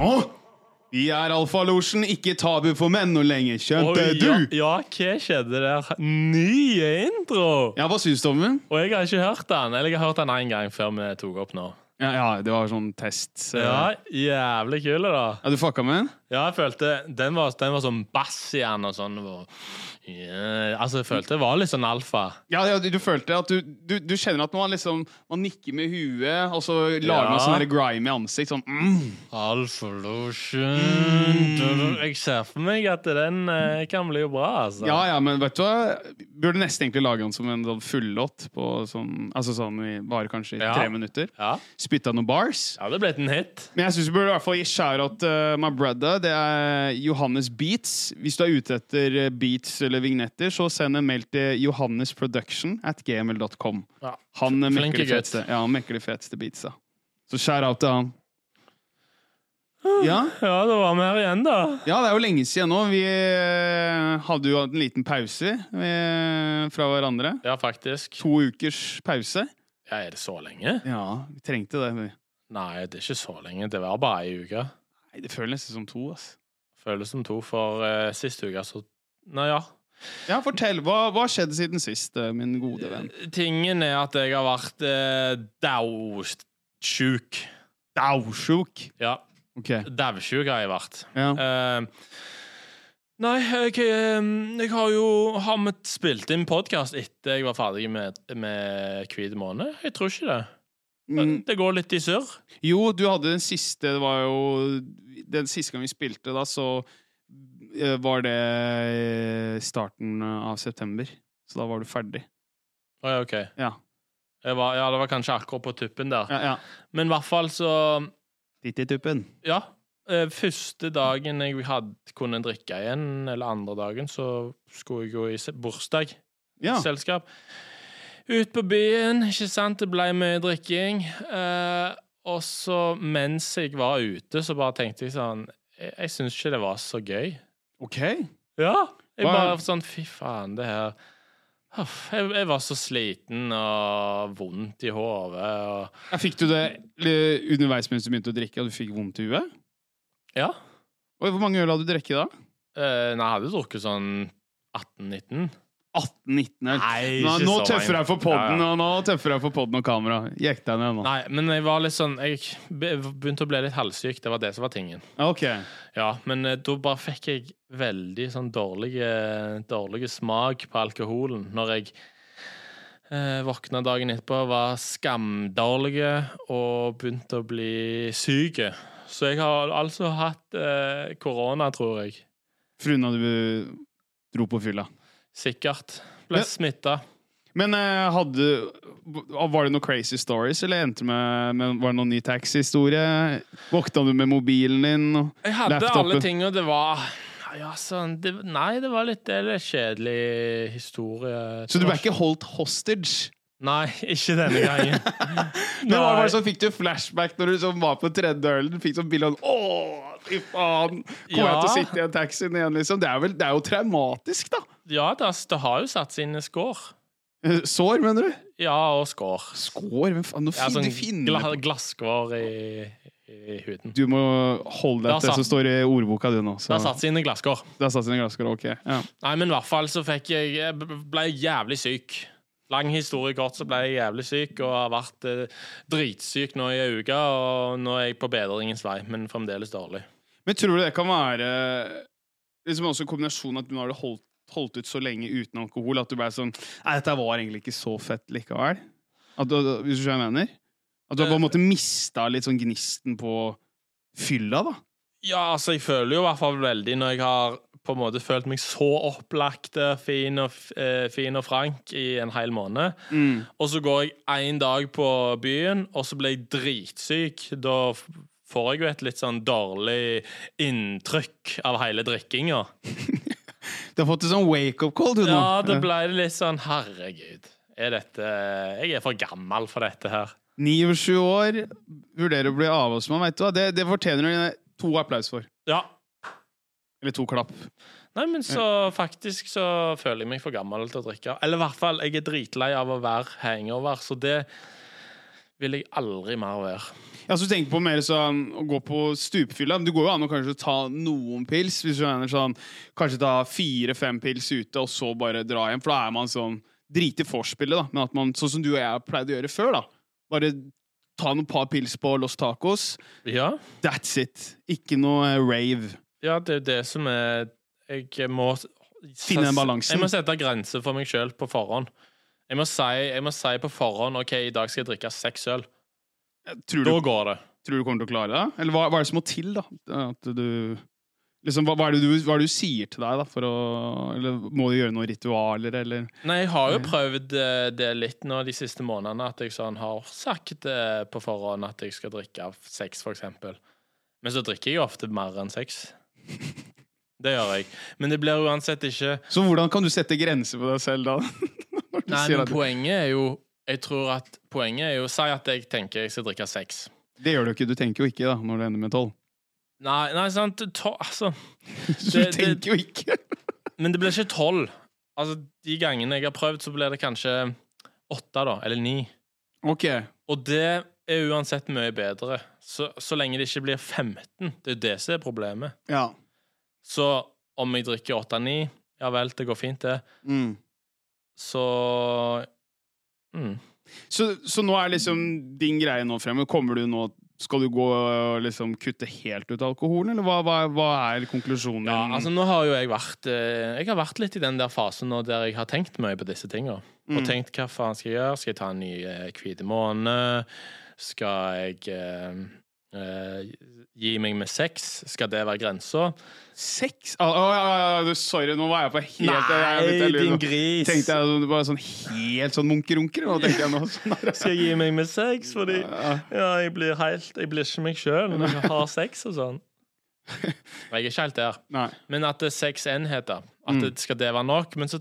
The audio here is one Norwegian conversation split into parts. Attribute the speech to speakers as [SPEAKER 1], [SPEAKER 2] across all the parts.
[SPEAKER 1] Å! Vi er Alfalosjen, ikke tabu for menn noe lenger. Skjønte
[SPEAKER 2] Oi, ja,
[SPEAKER 1] du?
[SPEAKER 2] ja, hva skjedde der? Nye intro!
[SPEAKER 1] Ja, hva syns du om den?
[SPEAKER 2] Og jeg har ikke hørt den. Eller jeg har hørt den én gang før vi tok opp nå.
[SPEAKER 1] Ja, ja, det var sånn test. så-
[SPEAKER 2] Ja, jævlig kul, da.
[SPEAKER 1] Ja, du fucka med den?
[SPEAKER 2] Ja, jeg følte den var, den var sånn bass igjen og sånn. Og, ja, altså, jeg følte det var litt sånn alfa.
[SPEAKER 1] Ja, ja, du, du følte at du, du, du kjenner at man liksom Man nikker med huet, og så lager man
[SPEAKER 2] Ja.
[SPEAKER 1] sånn der grimy ansikt. Sånn mm.
[SPEAKER 2] Alfalosjen Jeg ser for meg at den eh, kan bli bra, altså.
[SPEAKER 1] Ja, ja, men vet du hva? Burde nesten egentlig lage den som en sånn fullåt. på Sånn, altså sånn i bare kanskje
[SPEAKER 2] Ja.
[SPEAKER 1] tre minutter.
[SPEAKER 2] Ja.
[SPEAKER 1] Spytta noen bars.
[SPEAKER 2] Det hadde blitt en hit.
[SPEAKER 1] Men jeg synes vi burde i hvert fall gi shout-out til my brother. Det er Johannes Beats. Hvis du er ute etter eh, beats eller vignetter, så send en mail til johannesproduction at gml.com.
[SPEAKER 2] Ja.
[SPEAKER 1] Han eh, mekker
[SPEAKER 2] Flinke
[SPEAKER 1] de
[SPEAKER 2] gutt.
[SPEAKER 1] feteste, ja, han mekker de feteste beatsa. Så shout-out til han. Ja,
[SPEAKER 2] Ja, det var mer igjen, da.
[SPEAKER 1] ja, det er jo lenge siden nå. Vi eh, hadde jo hatt en liten pause eh, fra hverandre.
[SPEAKER 2] Ja, faktisk.
[SPEAKER 1] To ukers pause.
[SPEAKER 2] Ja, er det så lenge?
[SPEAKER 1] Ja, vi trengte det. vi.
[SPEAKER 2] Nei, det er ikke så lenge. Det var bare ei uke.
[SPEAKER 1] Nei, det føles nesten som to. ass.
[SPEAKER 2] Føles som to, for eh, sist uke så Nei, ja.
[SPEAKER 1] Ja, Fortell, hva hva har skjedd siden sist, eh, min gode venn?
[SPEAKER 2] Tingen er at jeg har vært eh, dausjuk.
[SPEAKER 1] Dausjuk.
[SPEAKER 2] Ja,
[SPEAKER 1] Ok.
[SPEAKER 2] dausjuk har jeg vært.
[SPEAKER 1] Ja.
[SPEAKER 2] Eh, nei, jeg, eh, jeg har jo har vi spilt inn podkast etter jeg var ferdig med, med Hvit måned. Jeg tror ikke det.
[SPEAKER 1] Mm,
[SPEAKER 2] Det går litt i surr.
[SPEAKER 1] jo, du hadde den siste Det var jo Den siste gang vi spilte, da, så eh, var det eh, starten av september. Så da var du ferdig.
[SPEAKER 2] Å ja, OK.
[SPEAKER 1] Ja.
[SPEAKER 2] Jeg var, ja, det var kanskje akkurat på tuppen der.
[SPEAKER 1] Ja, ja.
[SPEAKER 2] Men i hvert fall så
[SPEAKER 1] Ditt i tuppen.
[SPEAKER 2] Ja. eh, Første dagen jeg had, kunne drikke igjen, eller andre dagen, så skulle jeg gå i se- bursdagsselskap.
[SPEAKER 1] Ja.
[SPEAKER 2] Ut på byen, ikke sant? Det ble mye drikking. Eh, og så mens jeg var ute, så bare tenkte jeg sånn Jeg, jeg syns ikke det var så gøy.
[SPEAKER 1] Ok.
[SPEAKER 2] Ja. Jeg
[SPEAKER 1] Hva-
[SPEAKER 2] bare sånn Fy faen, det her Huff, jeg, jeg var så sliten og vondt i hodet og
[SPEAKER 1] Ja, Fikk du det eh, underveis mens du begynte å drikke, og du fikk vondt i huet?
[SPEAKER 2] Ja.
[SPEAKER 1] Og hvor mange øl hadde du drukket da?
[SPEAKER 2] Eh, nei, jeg hadde drukket sånn 18-19.
[SPEAKER 1] 18-19 øl.
[SPEAKER 2] Nei,
[SPEAKER 1] Nå,
[SPEAKER 2] ikke
[SPEAKER 1] nå
[SPEAKER 2] så
[SPEAKER 1] tøffer
[SPEAKER 2] mange.
[SPEAKER 1] jeg for podden,
[SPEAKER 2] Ja, ja.
[SPEAKER 1] og nå tøffer jeg for podden og kamera. Jekk deg ned nå.
[SPEAKER 2] Nei, men jeg var litt sånn Jeg be- begynte å bli litt halvsyk. Det var det som var tingen.
[SPEAKER 1] Ok.
[SPEAKER 2] Ja, Men eh, da bare fikk jeg veldig sånn dårlig eh, dårlig smak på alkoholen når jeg eh, våkna dagen etterpå, var skamdårlig og begynte å bli syk. Så jeg har altså hatt eh, korona, tror jeg.
[SPEAKER 1] Fruna du dro på fylla.
[SPEAKER 2] Sikkert. Ble
[SPEAKER 1] Men-
[SPEAKER 2] smitta.
[SPEAKER 1] Men eh, hadde Var det noen crazy stories, eller endte med, med Var det noen ny taxihistorie? Våkna du med mobilen din? og-
[SPEAKER 2] Jeg hadde
[SPEAKER 1] Laptopen.
[SPEAKER 2] alle ting, og det var ja, sånn, det, Nei, det var litt det er litt kjedelig historie.
[SPEAKER 1] Så du ble ikke holdt hostage?
[SPEAKER 2] Nei, ikke denne gangen.
[SPEAKER 1] Det var
[SPEAKER 2] Nei.
[SPEAKER 1] bare sånn, Fikk du flashback når du sånn var på tredje ølen? Fikk sånn bilde av Å, fy faen! Kommer jeg
[SPEAKER 2] Ja.
[SPEAKER 1] til å sitte i en taxi igjen, liksom? Det er, vel, det er jo traumatisk, da.
[SPEAKER 2] Ja, det, ass, det har jo satt sine skår.
[SPEAKER 1] Eh, Sår, mener du?
[SPEAKER 2] Ja, og skår.
[SPEAKER 1] Skår? Hvem faen? Nå
[SPEAKER 2] Ja,
[SPEAKER 1] fin,
[SPEAKER 2] sånn
[SPEAKER 1] du finner
[SPEAKER 2] gla,
[SPEAKER 1] på
[SPEAKER 2] glasskår i, i huden.
[SPEAKER 1] Du må holde
[SPEAKER 2] Det
[SPEAKER 1] deg til det
[SPEAKER 2] har satt-
[SPEAKER 1] som står i ordboka di nå.
[SPEAKER 2] Det
[SPEAKER 1] Så.
[SPEAKER 2] har satt sine glasskår.
[SPEAKER 1] Det har satt sine glasskår. Ok. Ja.
[SPEAKER 2] Nei, men i hvert fall så fikk jeg Jeg ble jævlig syk. Lang historie kort, så ble jeg jævlig syk og har vært eh, dritsyk nå i ei uke. Og nå er jeg på bedringens vei, men fremdeles dårlig.
[SPEAKER 1] Men tror du det kan være liksom også en kombinasjon at du nå har holdt, holdt ut så lenge uten alkohol at du ble sånn Nei, dette var egentlig ikke så fett likevel. At du, hvis du skjønner hva jeg mener? At du har på en måte mista litt sånn gnisten på fylla, da?
[SPEAKER 2] Ja, altså, jeg føler jo i hvert fall veldig når jeg har på en måte følt meg så opplagt eh, fin og, f- eh, fin og frank i en hel måned. Og så går jeg én dag på byen, og så blir jeg dritsyk. Da f- får jeg jo et litt sånn dårlig inntrykk av hele drikkinga.
[SPEAKER 1] Du har fått en sånn wake-up call, du nå.
[SPEAKER 2] Ja, da ble det litt sånn Herregud, er dette Jeg er for gammel for dette
[SPEAKER 1] Eh,
[SPEAKER 2] her.
[SPEAKER 1] 29 år, vurderer å bli avholdsmann, veit du hva. Det, det fortjener du to applaus for.
[SPEAKER 2] Ja.
[SPEAKER 1] Eller to klapp.
[SPEAKER 2] Nei, men så faktisk så føler jeg meg for gammel til å drikke. Eller i hvert fall, jeg er dritlei av å være hangover, så det vil jeg aldri mer være.
[SPEAKER 1] Jeg også tenker på mer sånn å gå på stupfylla. Men Det går jo an å kanskje ta noen pils. Hvis du mener sånn Kanskje ta fire-fem pils ute, og så bare dra hjem. For da er man sånn Drit i vorspielet, da. Men at man, sånn som du og jeg pleide å gjøre før, da. Bare ta noen par pils på Los Tacos.
[SPEAKER 2] Ja,
[SPEAKER 1] That's it. Ikke noe rave.
[SPEAKER 2] ja det er jo det som er Jeg må
[SPEAKER 1] Finne den balansen.
[SPEAKER 2] Jeg må sette grenser for meg sjøl på forhånd. Jeg må, si, jeg må si på forhånd OK, i dag skal jeg drikke seks øl.
[SPEAKER 1] Tror du,
[SPEAKER 2] Da går det.
[SPEAKER 1] tror du kommer til å klare det? Eller hva, hva er det som må til, da? At du Liksom, hva, hva, er det du, hva er det du sier til deg, da? For å, eller må du gjøre noen ritualer, eller
[SPEAKER 2] Nei, jeg
[SPEAKER 1] Mm.
[SPEAKER 2] har jo prøvd eh, det litt nå de siste månedene, at jeg sånn har sagt eh, på forhånd at jeg skal drikke seks, for eksempel. Men så drikker jeg jo ofte mer enn seks. Det gjør jeg. Men det blir uansett ikke
[SPEAKER 1] Så hvordan kan du sette grenser for deg selv, da? Når du
[SPEAKER 2] Nei,
[SPEAKER 1] sier
[SPEAKER 2] men
[SPEAKER 1] at du-
[SPEAKER 2] poenget er jo Jeg tror at poenget er jo Si at jeg tenker jeg skal drikke seks.
[SPEAKER 1] Det gjør du ikke. Du tenker jo ikke da, når det ender med tolv.
[SPEAKER 2] Nei, nei, sant to, altså.
[SPEAKER 1] Du
[SPEAKER 2] Det- det-
[SPEAKER 1] tenker jo ikke!
[SPEAKER 2] Men det blir ikke tolv. Altså, de gangene jeg har prøvd, så blir det kanskje åtte, da. Eller ni.
[SPEAKER 1] Ok.
[SPEAKER 2] Og det er uansett mye bedre. Så, så lenge det ikke blir 15. Det er jo det som er problemet.
[SPEAKER 1] Ja.
[SPEAKER 2] Så om jeg drikker 8-9, ja vel, det går fint, det.
[SPEAKER 1] Mm.
[SPEAKER 2] Så mm.
[SPEAKER 1] Så, så nå er liksom din greie nå fremme. Kommer du nå Skal du gå og liksom kutte helt ut alkoholen, eller hva, hva, hva er konklusjonen din?
[SPEAKER 2] Ja, altså nå har jo jeg vært eh, Jeg har vært litt i den der fasen nå der jeg har tenkt mye på disse tinga. Og
[SPEAKER 1] Mm.
[SPEAKER 2] tenkt hva faen skal jeg gjøre? Skal jeg ta en ny eh, hvit måned? Skal jeg eh, eh, gi meg med sex? Skal det være grensa?
[SPEAKER 1] Sex? Å, å, ja, ja, ja, du, sorry, nå var jeg på helt jeg, jeg, jeg, jeg,
[SPEAKER 2] gris!
[SPEAKER 1] Tenkte jeg sånn- det var sånn helt sånn munkerunker. Nå tenkte jeg nå sånn der.
[SPEAKER 2] Skal jeg gi meg med sex? Fordi
[SPEAKER 1] Ja.
[SPEAKER 2] ja, jeg blir helt Jeg blir ikke meg sjøl når jeg har sex og sånn. Jeg er ikke helt der.
[SPEAKER 1] Nei.
[SPEAKER 2] Men at det er seks enheter. At
[SPEAKER 1] Mm.
[SPEAKER 2] det skal det være nok. Men så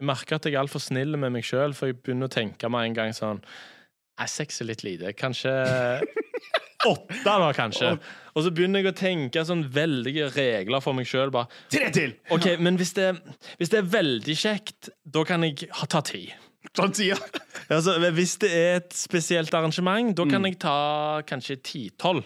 [SPEAKER 2] jeg merker at jeg er altfor snill med meg sjøl, for jeg begynner å tenke med en gang sånn Nei, seks er litt lite. Kanskje åtte, da, kanskje. Og så begynner jeg å tenke sånn veldige regler for meg sjøl. Bare
[SPEAKER 1] Tre til!
[SPEAKER 2] OK, men hvis det, hvis det er veldig kjekt, da kan jeg ha- ta ti.
[SPEAKER 1] Sånn sier jeg.
[SPEAKER 2] Altså, hvis det er et spesielt arrangement, da
[SPEAKER 1] Mm.
[SPEAKER 2] kan jeg ta kanskje ti-tolv.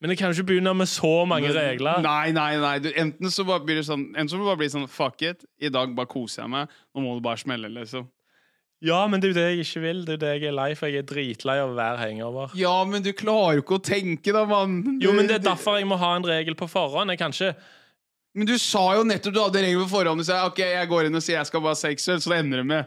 [SPEAKER 2] Men jeg kan jo ikke begynne med så mange regler.
[SPEAKER 1] Nei, nei, nei. Du, enten så bare blir det sånn Enten så må du bare bli sånn Fuck it, i dag bare koser jeg meg. Nå må du bare smelle, liksom.
[SPEAKER 2] Ja, men det er jo det jeg ikke vil. Det er jo det jeg er lei for. Jeg er dritlei av å være hangover.
[SPEAKER 1] Ja, men du klarer jo ikke å tenke, da, mann.
[SPEAKER 2] Jo, men det er derfor jeg må ha en regel på forhånd. Jeg kan ikke
[SPEAKER 1] Men du sa jo nettopp du hadde regler på forhånd. Du sa ok, jeg går inn og sier jeg skal bare ha seks øl, så det ender det med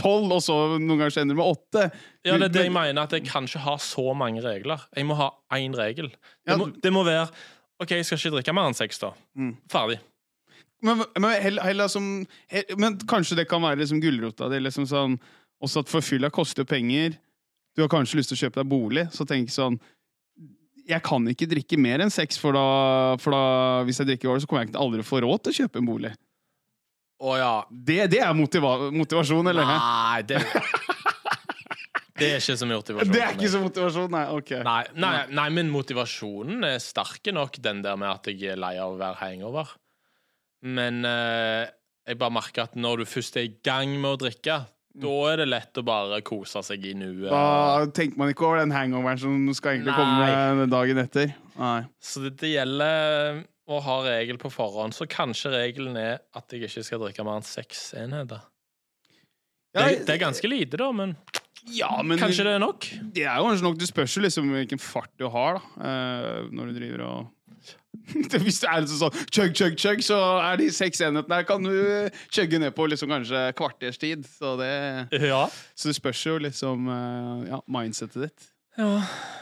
[SPEAKER 1] tolv, og så noen ganger så ender det med åtte.
[SPEAKER 2] ja, det er det jeg
[SPEAKER 1] Men-
[SPEAKER 2] mener, at jeg kan ikke ha så mange regler. Jeg må ha én regel.
[SPEAKER 1] Ja,
[SPEAKER 2] Det må, det må være OK, jeg skal ikke drikke mer enn seks, da.
[SPEAKER 1] Mm.
[SPEAKER 2] Ferdig.
[SPEAKER 1] Men, men, heller, heller som, he- men kanskje det kan være liksom gulrota di. Liksom sånn, også at forfylla koster jo penger. Du har kanskje lyst til å kjøpe deg bolig. Så tenk sånn Jeg kan ikke drikke mer enn seks, for da, for da hvis jeg drikker over, så kommer jeg ikke til aldri å få råd til å kjøpe en bolig.
[SPEAKER 2] Å ja.
[SPEAKER 1] Det, det er motiva motivasjon, eller? hæ?
[SPEAKER 2] Nei, det Det er ikke som gjort i versjonen.
[SPEAKER 1] Det er ikke så motivasjon, nei. Ok.
[SPEAKER 2] Nei, nei, nei, men motivasjonen er sterke nok, den der med at jeg er lei av å være hangover. Men eh, jeg bare merker at når du først er i gang med å drikke, da er det lett å bare kose seg i nuet.
[SPEAKER 1] Da tenker man ikke over den hangoveren som skal egentlig komme dagen etter. Nei.
[SPEAKER 2] Så det, det gjelder eh, å ha regel på forhånd. Så kanskje regelen er at jeg ikke skal drikke mer enn seks enheter. det, det er ganske lite, da, men,
[SPEAKER 1] ja, men
[SPEAKER 2] kanskje det er nok?
[SPEAKER 1] Det er jo kanskje nok Det spørs jo liksom hvilken fart du har da eh, når du driver og Hvis det er liksom sånn chug, chug, chug, så er de seks enhetene her kan du eh, chugge ned på liksom kanskje kvarters tid. Så det,
[SPEAKER 2] Ja.
[SPEAKER 1] så det spørs jo liksom eh, ja, mindsetet ditt.
[SPEAKER 2] ja.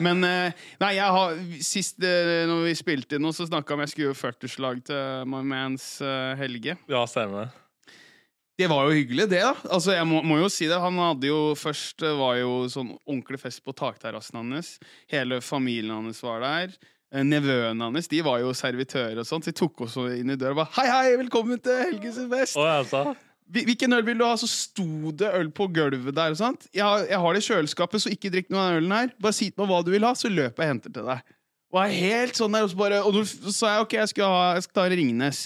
[SPEAKER 1] Men eh, nei, jeg har sist eh, når vi spilte inn noe, så snakka jeg om jeg skulle gjøre 40-slag til my mans eh, Helge.
[SPEAKER 2] Ja, stemmer.
[SPEAKER 1] Det var jo hyggelig, det. da Altså, jeg må, må jo si det. Han hadde jo først eh, var jo sånn ordentlig fest på takterrassen hans. Hele familien hans var der. Eh, Nevøene hans de var jo servitører og sånn. Så de tok oss inn i døra og bare Hei, hei, velkommen til Helges fest!
[SPEAKER 2] Å, altså.
[SPEAKER 1] Hvil- Hvilken øl vil du ha? Så sto det øl på gulvet der. og sånt Jeg, har- jeg har det i kjøleskapet, så ikke drikk noe av den ølen her. Bare si til meg hva du vil ha, så løper jeg og henter til deg. Og jeg er helt sånn der, og så bare Og nå f- sa jeg ok, jeg skal, ha, jeg skal ta Ringnes.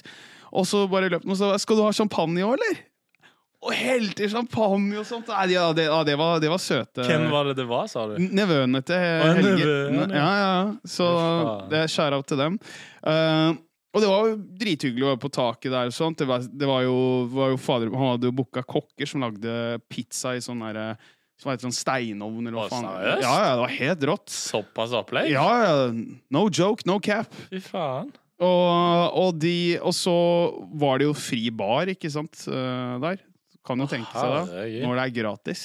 [SPEAKER 1] Og så bare løp den, og så sa jeg, Skal du ha champagne i år, eller? Og helt i champagne og sånt. Nei, ja, det, ja, det, var, det var søte
[SPEAKER 2] Hvem var det det var, sa du?
[SPEAKER 1] Nevøene til
[SPEAKER 2] Å, ja,
[SPEAKER 1] Helge.
[SPEAKER 2] nevøene,
[SPEAKER 1] Ja, ja. Så
[SPEAKER 2] Fy faen.
[SPEAKER 1] det er skjæra opp til dem. Eh, og det var jo drithyggelig å være på taket der. og sånt. Det var, det var jo, var jo fader, Han hadde jo booka kokker som lagde pizza i sånn derre Som heter sånn steinovn, eller hva
[SPEAKER 2] Å,
[SPEAKER 1] faen.
[SPEAKER 2] seriøst?
[SPEAKER 1] Ja, ja, det var helt rått.
[SPEAKER 2] Såpass opplegg?
[SPEAKER 1] Ja, ja. No joke, no cap.
[SPEAKER 2] Fy faen.
[SPEAKER 1] Og, og, de, og så var det jo fri bar, ikke sant, eh, der. Kan jo tenke seg det,
[SPEAKER 2] Herregud.
[SPEAKER 1] når det er gratis.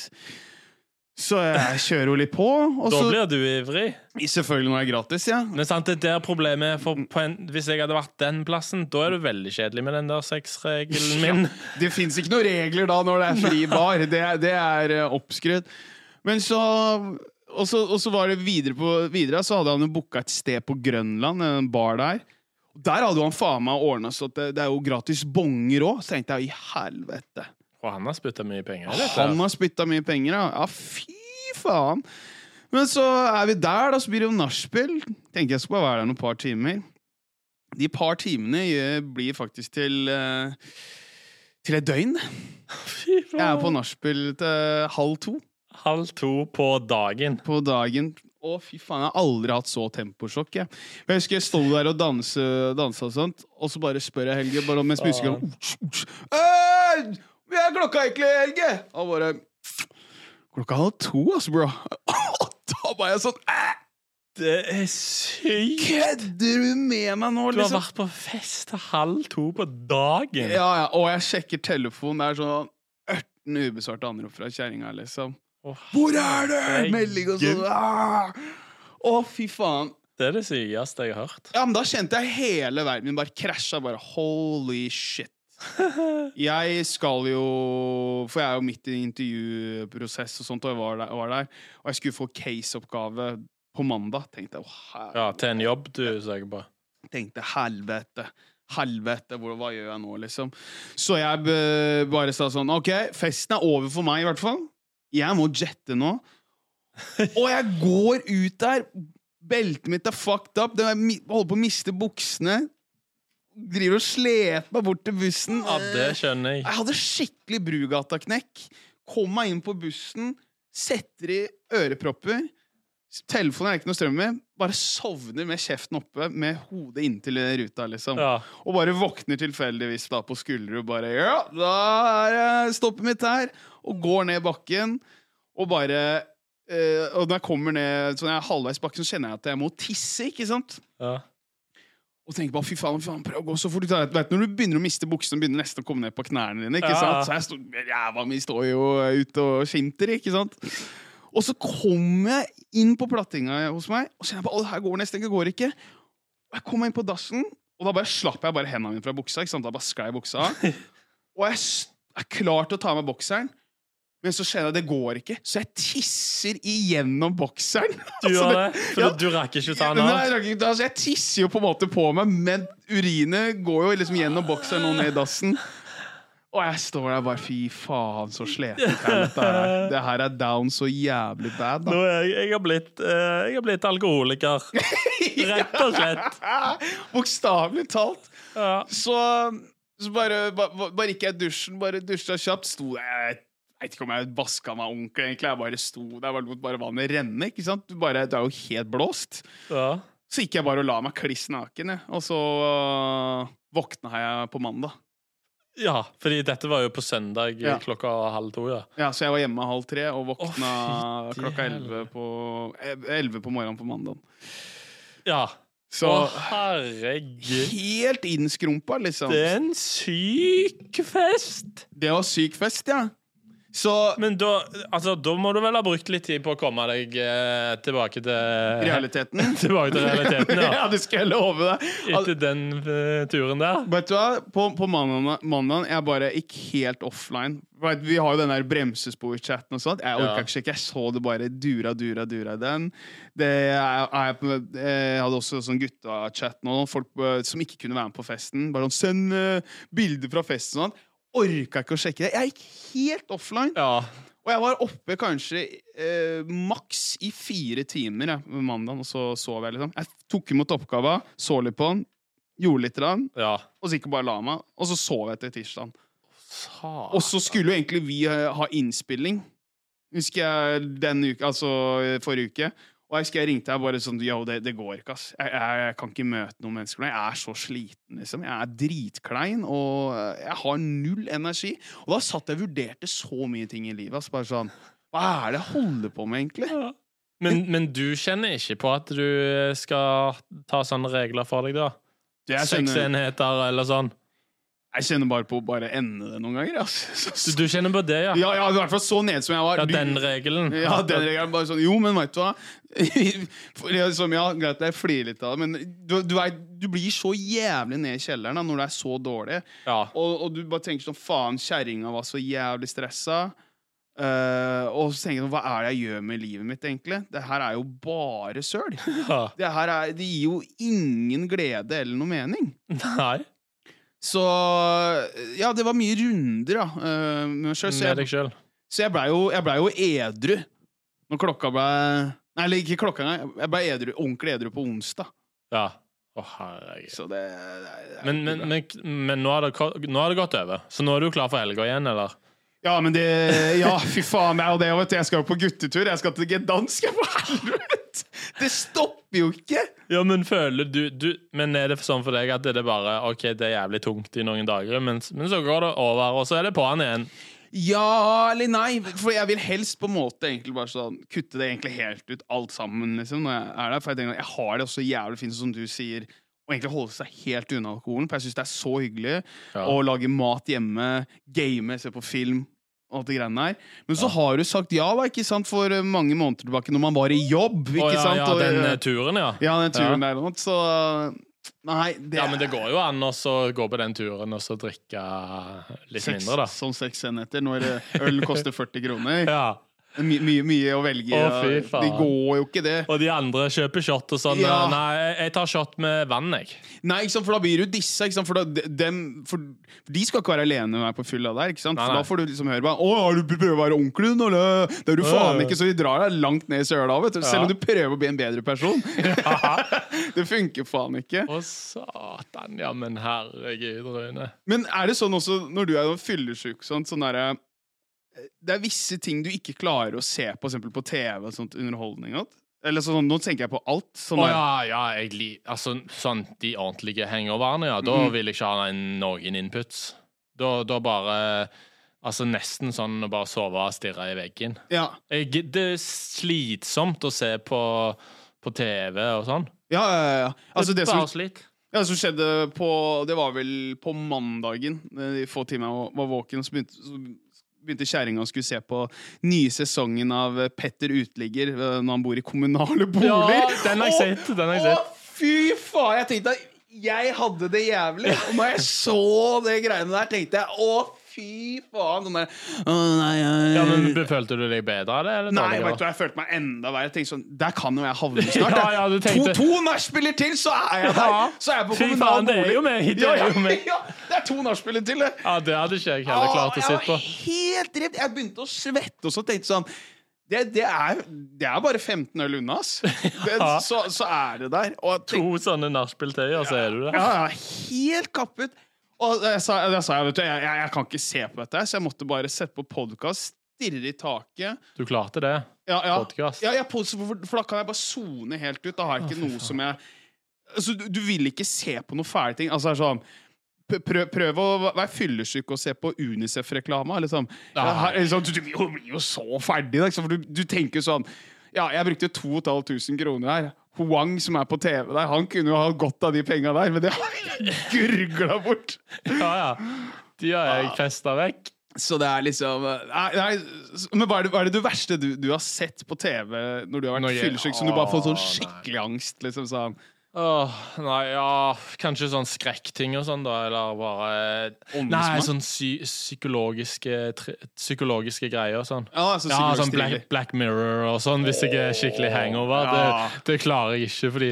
[SPEAKER 1] Så jeg kjører jo litt på. Og
[SPEAKER 2] Da
[SPEAKER 1] så,
[SPEAKER 2] blir du ivrig.
[SPEAKER 1] selvfølgelig når det er gratis, ja.
[SPEAKER 2] Men sant, det er der problemet er, for på en, Hvis jeg hadde vært den plassen, da er du veldig kjedelig med den der sexregelen min.
[SPEAKER 1] Det fins ikke noen regler da når det er fri bar. Det, er- det er eh, oppskrytt. Men så Og så, og så var det videre, på, videre så hadde han jo booka et sted på Grønland, en bar der. Der hadde jo han faen meg ordna så at det, det er jo gratis bonger òg. Så tenkte jeg i helvete.
[SPEAKER 2] Og han har spytta mye penger. i dette.
[SPEAKER 1] Han har spytta mye penger, ja. Ja, fy faen. Men så er vi der, da, så blir det jo nachspiel. Tenker jeg skal bare være der noen par timer. De par timene eh, blir faktisk til eh, til et døgn.
[SPEAKER 2] Fy faen.
[SPEAKER 1] Jeg er på nachspiel til halv to
[SPEAKER 2] Halv to på dagen.
[SPEAKER 1] på dagen. Å, fy faen, jeg har aldri hatt så temposjokk. Jeg, jeg husker jeg sto der og danse, dansa og sånt, og så bare spør jeg Helge bare om mens musikeren Hvor er klokka egentlig, Helge? Og bare Klokka halv to, ass, bro. da var jeg sånn «Æ,
[SPEAKER 2] Det er sykt!
[SPEAKER 1] Kødder du med meg nå,
[SPEAKER 2] Du har
[SPEAKER 1] liksom?
[SPEAKER 2] vært på fest til halv to på dagen.
[SPEAKER 1] Ja, ja, og jeg sjekker telefonen, det er sånn 18 ubesvarte anrop fra kjerringa, liksom.
[SPEAKER 2] Åh,
[SPEAKER 1] Hvor er du? Melding og sånn.
[SPEAKER 2] herregud.
[SPEAKER 1] «Æ!» Å, fy faen.
[SPEAKER 2] Det er det sykeste jeg har hørt.
[SPEAKER 1] Ja, men da kjente jeg hele verden min bare krasja. Bare holy shit. Jeg skal jo For jeg er jo midt i en intervjuprosess og sånt, og jeg var der. Var der og jeg skulle få caseoppgave på mandag. Tenkte jeg, å, her,
[SPEAKER 2] Ja, til en jobb, du, søker på.
[SPEAKER 1] tenkte helvete. Helvete, hvor, hva gjør jeg nå, liksom? Så jeg b- bare sa sånn Ok, festen er over for meg, i hvert fall. Jeg må jette nå. Og jeg går ut der. Beltet mitt er fucked up. det er mi- Holder på å miste buksene. Driver og sleper meg bort til bussen.
[SPEAKER 2] Ja, det skjønner jeg.
[SPEAKER 1] Jeg hadde skikkelig Brugata-knekk. Kom meg inn på bussen, setter i ørepropper. Telefonen er ikke noe strøm i. Bare sovner med kjeften oppe, med hodet inntil ruta, liksom.
[SPEAKER 2] Ja.
[SPEAKER 1] Og bare våkner tilfeldigvis da på skuldre og bare Ja, da er eh, stoppet mitt her! Og går ned bakken og bare eh, Og når jeg kommer ned sånn jeg er halvveis bakken, så kjenner jeg at jeg må tisse, ikke sant?
[SPEAKER 2] ja.
[SPEAKER 1] Og tenker bare, fy faen, fy faen, prøv å gå så fort du tar- Vet du, Når du begynner å miste buksene, begynner nesten å komme ned på knærne dine. ikke
[SPEAKER 2] Ja, ja.
[SPEAKER 1] sant? Så jeg stod, Ræva mi står jo eh, ute og skinter, ikke sant? Og så kommer jeg inn på plattinga hos meg, og så kjenner jeg på, her går det nesten ikke, går ikke. Og jeg kommer inn på dassen, og da bare slapp jeg bare hendene mine fra buksa. ikke sant? Da bare sklei buksa av. Og jeg s- er klar til å ta med bokseren, men så skjer det, det går ikke. Så jeg tisser igjennom bokseren. Altså,
[SPEAKER 2] Du gjør det, for
[SPEAKER 1] ja.
[SPEAKER 2] du rakk ikke å ta den
[SPEAKER 1] Nei,
[SPEAKER 2] av.
[SPEAKER 1] jeg rakk ikke- altså, jeg tisser jo på en måte på meg, men urinet går jo liksom gjennom bokseren og ned i dassen. Og jeg står der bare Fy faen, så sliten jeg er. Dette her. Det her er down så jævlig bad,
[SPEAKER 2] Nå
[SPEAKER 1] da.
[SPEAKER 2] er jeg, jeg, har blitt, eh, jeg har blitt alkoholiker. Rett og slett.
[SPEAKER 1] Bokstavelig talt.
[SPEAKER 2] Ja.
[SPEAKER 1] Så, så bare, ba, ba- bare gikk jeg i dusjen, bare dusja kjapt. Sto jeg jeg vet ikke om jeg vaska meg ordentlig, egentlig. Jeg bare sto der, bare lot bare vannet renne. ikke sant? Du, bare, du er jo helt blåst.
[SPEAKER 2] Ja.
[SPEAKER 1] Så gikk jeg bare og la meg kliss naken, jeg. Og så øh, våkna jeg på mandag.
[SPEAKER 2] ja, fordi dette var jo på søndag
[SPEAKER 1] Ja.
[SPEAKER 2] klokka halv to, ja.
[SPEAKER 1] Ja, Så jeg var hjemme halv tre og våkna
[SPEAKER 2] Å, fytti
[SPEAKER 1] klokka elleve
[SPEAKER 2] helvete.
[SPEAKER 1] på, eh, 11 på morgenen på mandagen.
[SPEAKER 2] Ja.
[SPEAKER 1] Så
[SPEAKER 2] Å, herregud.
[SPEAKER 1] helt innskrumpa, liksom.
[SPEAKER 2] Det er
[SPEAKER 1] Det,
[SPEAKER 2] en syk fest!
[SPEAKER 1] var syk fest, ja. Så
[SPEAKER 2] Men da, altså, da må du vel ha brukt litt tid på å komme deg eh, tilbake til
[SPEAKER 1] realiteten
[SPEAKER 2] Tilbake til realiteten, ja.
[SPEAKER 1] Ja, det skal jeg love deg. Al-
[SPEAKER 2] Etter den eh, turen der.
[SPEAKER 1] Vet du hva, På, på mandagen, mandagen jeg bare gikk helt offline. For at Vi har jo den der bremsespor-chatten og sånt. Jeg orka
[SPEAKER 2] Ja.
[SPEAKER 1] ikke sjekke. Jeg så det bare dura, dura, dura i den. Det, jeg, jeg, på- jeg hadde også sånn gutta-chat nå, folk eh, som ikke kunne være med på festen. Bare sånn, Send eh, bilder fra festen og sånn. Orka ikke å sjekke det. Jeg gikk helt offline.
[SPEAKER 2] Ja.
[SPEAKER 1] Og jeg var oppe kanskje eh, maks i fire timer jeg, mandagen, og så sov jeg. liksom Jeg tok imot oppgava, så litt på den, gjorde litt. Rann,
[SPEAKER 2] ja.
[SPEAKER 1] og så gikk jeg bare la meg, og så sov jeg til tirsdagen.
[SPEAKER 2] Satan. Ah,
[SPEAKER 1] Og så skulle jo egentlig vi eh, ha innspilling, husker jeg, den uka, altså eh, forrige uke. Og jeg husker jeg ringte deg bare sånn Yo, det, det går ikke, ass. Jeg, jeg, jeg kan ikke møte noen mennesker nå. Jeg er så sliten, liksom. Jeg er dritklein, og eh, jeg har null energi. Og da satt jeg og vurderte så mye ting i livet, ass. Bare sånn Hva er det jeg holder på med, egentlig?
[SPEAKER 2] Men, men du kjenner ikke på at du skal ta sånne regler for deg, da?
[SPEAKER 1] Jeg
[SPEAKER 2] Seks
[SPEAKER 1] kjenner,
[SPEAKER 2] enheter eller sånn?
[SPEAKER 1] jeg kjenner bare på å bare ende det noen ganger, ass. Så,
[SPEAKER 2] Du,
[SPEAKER 1] så,
[SPEAKER 2] du kjenner på det, ja?
[SPEAKER 1] ja, ja, i hvert fall så nede som jeg var.
[SPEAKER 2] Ja,
[SPEAKER 1] Du-
[SPEAKER 2] den regelen.
[SPEAKER 1] Ja, den regelen bare sånn Jo, men veit du hva? For det er Som, ja, greit, jeg flirer litt av det, men du, du, er, du blir så jævlig ned i kjelleren da, når det er så dårlig.
[SPEAKER 2] Ja.
[SPEAKER 1] Og, og du bare tenker sånn Faen, kjerringa var så jævlig stressa. Eh, og så tenker jeg sånn Hva er det jeg gjør med livet mitt, egentlig? Det her er jo bare søl.
[SPEAKER 2] ja.
[SPEAKER 1] Det her er, det gir jo ingen glede eller noe mening.
[SPEAKER 2] Nei.
[SPEAKER 1] Så Ja, det var mye runder da, eh, med meg sjøl. Så
[SPEAKER 2] Med
[SPEAKER 1] jeg
[SPEAKER 2] deg sjøl.
[SPEAKER 1] så jeg blei jo, jeg ble jo edru når klokka blei Nei, eller ikke klokka engang. Jeg blei edru, ordentlig edru på onsdag.
[SPEAKER 2] Ja. Å, herregud.
[SPEAKER 1] Så det, det, det er
[SPEAKER 2] Men,
[SPEAKER 1] ikke
[SPEAKER 2] men,
[SPEAKER 1] bra.
[SPEAKER 2] men, men nå, har det, ko- nå har det gått over, så nå er du klar for helga igjen, eller?
[SPEAKER 1] Ja, men det Ja, fy faen. Jeg, og det, vet du, jeg skal jo på guttetur. Jeg skal til Gdansk, jeg, for helvete! Det stopper jo ikke!
[SPEAKER 2] Ja, men føler du, du Men er det sånn for deg at det er bare OK, det er jævlig tungt i noen dager, men, men så går det over, og så er det på'n igjen?
[SPEAKER 1] Ja eller nei. For jeg vil helst på en måte egentlig bare sånn kutte det egentlig helt ut, alt sammen, liksom, når jeg er der. For jeg tenker at jeg har det også jævlig fint, sånn som du sier, å egentlig holde seg helt unna alkoholen. For jeg syns det er så hyggelig
[SPEAKER 2] Ja.
[SPEAKER 1] å lage mat hjemme, game, se på film. og Alt det greiene der. Men så har du sagt ja da, ikke sant, for eh, mange måneder tilbake, når man var i jobb. ikke
[SPEAKER 2] Å, ja,
[SPEAKER 1] sant?
[SPEAKER 2] ja,
[SPEAKER 1] Og,
[SPEAKER 2] den eh,
[SPEAKER 1] eh,
[SPEAKER 2] turen, ja.
[SPEAKER 1] ja, den turen der og sånt, så Nei, det
[SPEAKER 2] Ja, men det går jo an å så gå på den turen og så drikke litt
[SPEAKER 1] seks,
[SPEAKER 2] mindre, da.
[SPEAKER 1] sånn seks enheter når eh, øl koster 40 kroner.
[SPEAKER 2] Ja.
[SPEAKER 1] My, mye, mye å velge.
[SPEAKER 2] Å, fy
[SPEAKER 1] ja.
[SPEAKER 2] faen.
[SPEAKER 1] Det går jo ikke, det.
[SPEAKER 2] Og de andre kjøper shot og sånn.
[SPEAKER 1] Ja.
[SPEAKER 2] Nei, jeg- jeg tar shot med vann, jeg.
[SPEAKER 1] Nei, ikke sant, for da blir du dissa. Ikke sant? For, da, de, dem- for de skal ikke være alene med meg på fylla der. Ikke sant?
[SPEAKER 2] Nei,
[SPEAKER 1] For
[SPEAKER 2] nei.
[SPEAKER 1] da får du liksom høre bare, Å, har du prøver å være ordentlig, nå, eller? Det er du faen
[SPEAKER 2] Øh.
[SPEAKER 1] ikke, så de drar deg langt ned i søla, vet du. Selv
[SPEAKER 2] Ja.
[SPEAKER 1] om du prøver å bli en bedre person. det funker faen ikke.
[SPEAKER 2] Å, satan. Ja, men herregud, Rune.
[SPEAKER 1] Men er det sånn også når du er fyllesyk sånn, sånn derre- Det er visse ting du ikke klarer å se på, for eksempel på TV og sånt underholdning. og alt? Eller sånn, nå tenker jeg på alt. Sånn
[SPEAKER 2] Å
[SPEAKER 1] der-
[SPEAKER 2] ja, ja, jeg li... Altså, sånn de ordentlige hangoverne, ja. Da vil jeg ikke ha en- noen inputs. Da, da bare Altså nesten sånn å bare sove og stirre i veggen.
[SPEAKER 1] ja.
[SPEAKER 2] Jeg, det er slitsomt å se på, på TV og sånn.
[SPEAKER 1] Ja, ja, ja. Altså, det som,
[SPEAKER 2] bare slit.
[SPEAKER 1] ja, som skjedde på Det var vel på mandagen, eh, de få timene jeg var våken, så begynte, så begynte kjerringa å skulle se på nye sesongen av eh, Petter Uteligger eh, når han bor i kommunale boliger.
[SPEAKER 2] Ja, den har jeg
[SPEAKER 1] Å,
[SPEAKER 2] sett, den har jeg
[SPEAKER 1] å,
[SPEAKER 2] sett.
[SPEAKER 1] fy faen! Jeg tenkte at jeg hadde det jævlig. Og når jeg så det greiene der, tenkte jeg å, fy faen! Den der, å, nei, nei,
[SPEAKER 2] Ja, men be- Følte du deg bedre av det? Eller
[SPEAKER 1] Nei, vet du,
[SPEAKER 2] dårligere?
[SPEAKER 1] jeg følte meg enda verre. Jeg tenkte sånn, Der kan jo jeg havne snart.
[SPEAKER 2] Ja,
[SPEAKER 1] jeg.
[SPEAKER 2] ja, du tenkte-
[SPEAKER 1] To, to nachspieler til, så er jeg der!
[SPEAKER 2] Ja.
[SPEAKER 1] Så er jeg på
[SPEAKER 2] Fy
[SPEAKER 1] kommunal
[SPEAKER 2] faen, det er
[SPEAKER 1] bolig.
[SPEAKER 2] jo meg, det
[SPEAKER 1] Ja,
[SPEAKER 2] er
[SPEAKER 1] ja,
[SPEAKER 2] jo meg.
[SPEAKER 1] ja, det er to nachspieler til, det!
[SPEAKER 2] Ja, det hadde ikke jeg heller klart å
[SPEAKER 1] jeg
[SPEAKER 2] sitte på.
[SPEAKER 1] var helt redd. Jeg begynte å svette og så tenkte sånn det, det, er, det er bare 15 øl unna, ass. Det,
[SPEAKER 2] Ja.
[SPEAKER 1] så, så er det der. Og jeg tenkte,
[SPEAKER 2] To sånne nachspiel til, og så er du der.
[SPEAKER 1] ja, jeg var helt kappet. Og jeg sa, jeg, sa jeg, vet du, jeg, jeg, jeg kan ikke se på dette, her, så jeg måtte bare sette på podkast, stirre i taket.
[SPEAKER 2] Du klarte det.
[SPEAKER 1] ja, ja.
[SPEAKER 2] Podcast.
[SPEAKER 1] Ja, jeg poser, for, for da kan jeg bare sone helt ut. Da har jeg ikke noe som jeg altså, du, du vil ikke se på noe fæle ting. Altså, det er sånn p- Prøv, prøv å v- være fyllesyk og se på Unicef-reklama. Liksom.
[SPEAKER 2] Nei.
[SPEAKER 1] Ja, her- liksom, du, du blir jo- blir jo så ferdig, da, ikke sant? for du, du tenker jo sånn Ja, jeg brukte 2500 kroner her. Huang, som er på TV der, han kunne jo ha godt av de penga der, men det har jeg gurgla bort.
[SPEAKER 2] Ja, ja. De har jeg festa vekk.
[SPEAKER 1] Så det er liksom nei, nei, s- Men hva er, det, hva er det du verste du, du har sett på TV når du har
[SPEAKER 2] Når
[SPEAKER 1] vært
[SPEAKER 2] jeg-
[SPEAKER 1] fyllesyk, som du bare har fått sånn
[SPEAKER 2] Åh, nei.
[SPEAKER 1] skikkelig angst? Liksom sånn
[SPEAKER 2] Åh, nei, ja Kanskje sånn skrekkting og sånn, da, eller bare Nei, sånn psy psykologiske, tri- psykologiske greier og sånn.
[SPEAKER 1] Ja, altså,
[SPEAKER 2] Ja,
[SPEAKER 1] psykologisk
[SPEAKER 2] sånn Black,
[SPEAKER 1] thriller.
[SPEAKER 2] Black Mirror og sånn, hvis jeg er skikkelig hangover.
[SPEAKER 1] Ja.
[SPEAKER 2] Det, det klarer jeg ikke, fordi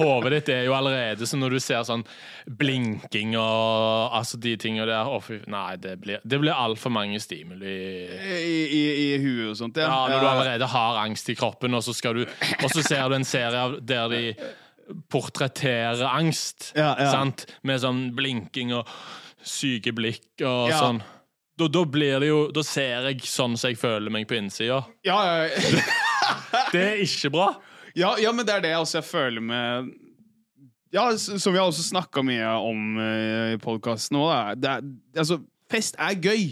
[SPEAKER 2] hodet ditt er jo allerede sånn når du ser sånn blinking og altså de tingene der. Å, fy, nei, det blir, det blir altfor mange stimuli.
[SPEAKER 1] I, i, I huet og sånt, ja.
[SPEAKER 2] Ja, når du
[SPEAKER 1] Ja.
[SPEAKER 2] allerede har angst i kroppen, og så, skal du, og så ser du en serie av- der de portretterer angst,
[SPEAKER 1] Ja, ja.
[SPEAKER 2] sant? Med sånn blinking og syke blikk og
[SPEAKER 1] Ja.
[SPEAKER 2] sånn. Da, da blir det jo Da ser jeg sånn som jeg føler meg på innsida.
[SPEAKER 1] Ja, ja,
[SPEAKER 2] Det er ikke bra.
[SPEAKER 1] ja, ja, men det er det jeg også jeg føler med Ja, s- som vi har også snakka mye om eh, i podkasten òg. Altså, fest er gøy.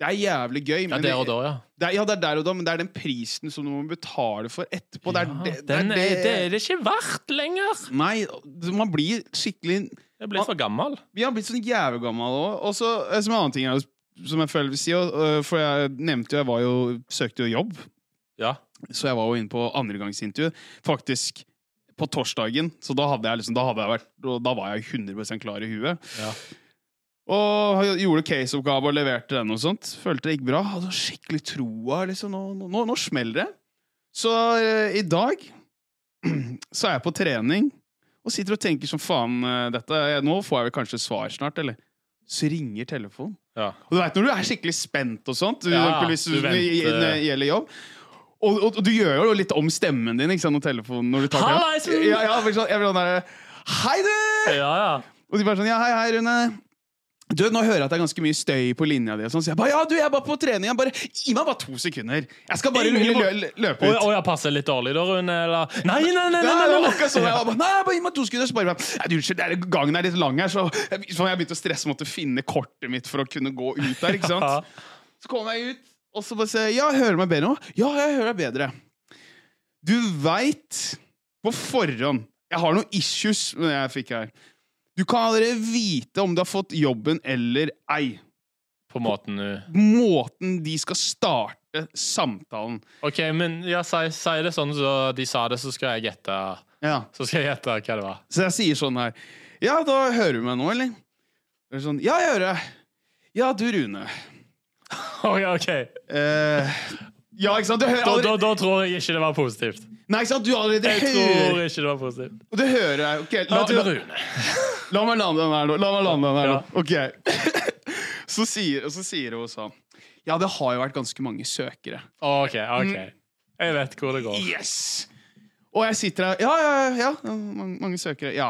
[SPEAKER 1] Det er jævlig gøy.
[SPEAKER 2] Ja,
[SPEAKER 1] men
[SPEAKER 2] der og da, ja.
[SPEAKER 1] Det er, ja, det er der og da, men det er den prisen som du må betale for etterpå. Det er,
[SPEAKER 2] Ja,
[SPEAKER 1] det, det,
[SPEAKER 2] den
[SPEAKER 1] er
[SPEAKER 2] er, det er det ikke verdt lenger.
[SPEAKER 1] Nei, man blir skikkelig
[SPEAKER 2] Jeg blir for gammel.
[SPEAKER 1] Vi har blitt sånn jævlig gammel òg. Og så eh, som en annen ting jeg, som jeg føler vil si, og, eh, for jeg nevnte jo jeg var jo, søkte jo jobb,
[SPEAKER 2] Ja.
[SPEAKER 1] så jeg var jo inne på andregangsintervju. Faktisk på torsdagen, så da hadde jeg liksom, da hadde jeg vært, og da var jeg 100 klar i huet.
[SPEAKER 2] Ja.
[SPEAKER 1] Og jeg gjorde caseoppgave og leverte den og sånt. Følte det gikk bra. Hadde skikkelig troa. liksom, Nå, nå, nå smeller det. Så eh, i dag så er jeg på trening og sitter og tenker som faen eh, dette, Nå får jeg vel kanskje svar snart, eller? Så ringer telefonen.
[SPEAKER 2] Ja.
[SPEAKER 1] Og du vet når du er skikkelig spent og sånt, for
[SPEAKER 2] Ja,
[SPEAKER 1] eksempel hvis
[SPEAKER 2] du
[SPEAKER 1] du, når
[SPEAKER 2] venter.
[SPEAKER 1] det gjelder jobb. Og, og, og du gjør jo litt om stemmen din ikke sant, når telefonen når du tar
[SPEAKER 2] Hallaisen!
[SPEAKER 1] Ja, ja, for sånn, jeg blir sånn der, Hei, du!
[SPEAKER 2] Ja, ja.
[SPEAKER 1] Og de bare sånn Ja, hei, hei, Rune. Du, Nå hører jeg at det er ganske mye støy på linja di. og Sånn, så jeg bare ja, du, jeg er bare på trening. Jeg bare, Gi meg bare to sekunder. Jeg skal bare lø
[SPEAKER 2] Ingen-
[SPEAKER 1] lø lø løpe
[SPEAKER 2] Å,
[SPEAKER 1] ut.
[SPEAKER 2] å, jeg passer litt dårlig da, Rune? Eller Nei, nei, nei! nei,
[SPEAKER 1] Nei, det
[SPEAKER 2] nei,
[SPEAKER 1] var
[SPEAKER 2] nei,
[SPEAKER 1] akkurat sånn. Jeg var bare, nei, bare gi meg to sekunder. Så bare, nei, du, unnskyld, det er- gangen er litt lang her, så jeg, så jeg begynte å stresse. Måtte finne kortet mitt for å kunne gå ut der. ikke sant? Så kom jeg ut, og så bare se, ja, hører du meg bedre nå? Ja, jeg hører deg bedre. Du veit på forhånd Jeg har noen issues med det jeg fikk her. Du kan allerede vite om du har fått jobben eller ei.
[SPEAKER 2] På måten du
[SPEAKER 1] Måten de skal starte samtalen.
[SPEAKER 2] OK, men ja, si, si det sånn så de sa det, så skal jeg gjette
[SPEAKER 1] Ja.
[SPEAKER 2] Så skal jeg gjette hva det var.
[SPEAKER 1] Så jeg sier sånn her Ja, da hører du meg nå, eller? Og jeg er sånn, ja, jeg hører deg. Ja, du, Rune.
[SPEAKER 2] Å, ja, ok
[SPEAKER 1] Eh, ja, ikke sant? Du hører
[SPEAKER 2] da, da,
[SPEAKER 1] allerede,
[SPEAKER 2] da tror jeg ikke det var positivt.
[SPEAKER 1] nei, ikke sant? Du allerede
[SPEAKER 2] Jeg tror
[SPEAKER 1] hører
[SPEAKER 2] ikke det var positivt.
[SPEAKER 1] Du hører deg. Ok, la,
[SPEAKER 2] Ja, du,
[SPEAKER 1] la,
[SPEAKER 2] Rune.
[SPEAKER 1] la meg lande den her nå. La meg lande den her nå. Ok. Så sier, og så sier hun sånn Ja, det har jo vært ganske mange søkere.
[SPEAKER 2] OK, OK. Jeg vet hvor det går.
[SPEAKER 1] Mm. Yes! Og jeg sitter her Ja, ja, ja. ja mange, mange søkere. Ja.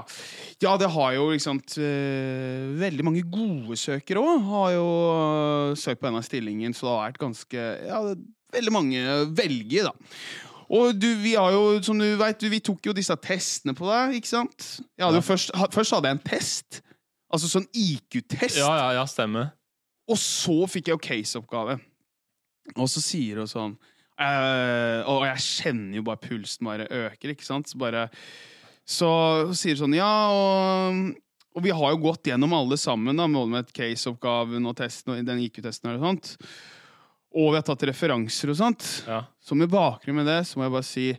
[SPEAKER 1] ja, det har jo liksom t- øh, Veldig mange gode søkere òg. Har jo øh, søkt på denne stillingen, så det har vært ganske Ja, det, veldig mange velger, da. Og du, vi har jo, som du vet, du, vi tok jo disse testene på deg, ikke sant? Jeg hadde jo først, ha, først hadde jeg en test. Altså sånn IQ-test.
[SPEAKER 2] Ja, ja, ja, stemmer.
[SPEAKER 1] Og så fikk jeg jo caseoppgave. Og så sier hun sånn eh, Og jeg kjenner jo bare pulsen bare øker, ikke sant? Så bare Så sier hun sånn Ja, og, og vi har jo gått gjennom alle sammen, da, med med caseoppgaven og testen og den IQ-testen og sånt. Og vi har tatt referanser og sånt.
[SPEAKER 2] Ja.
[SPEAKER 1] Så med bakgrunn med det, så må jeg bare si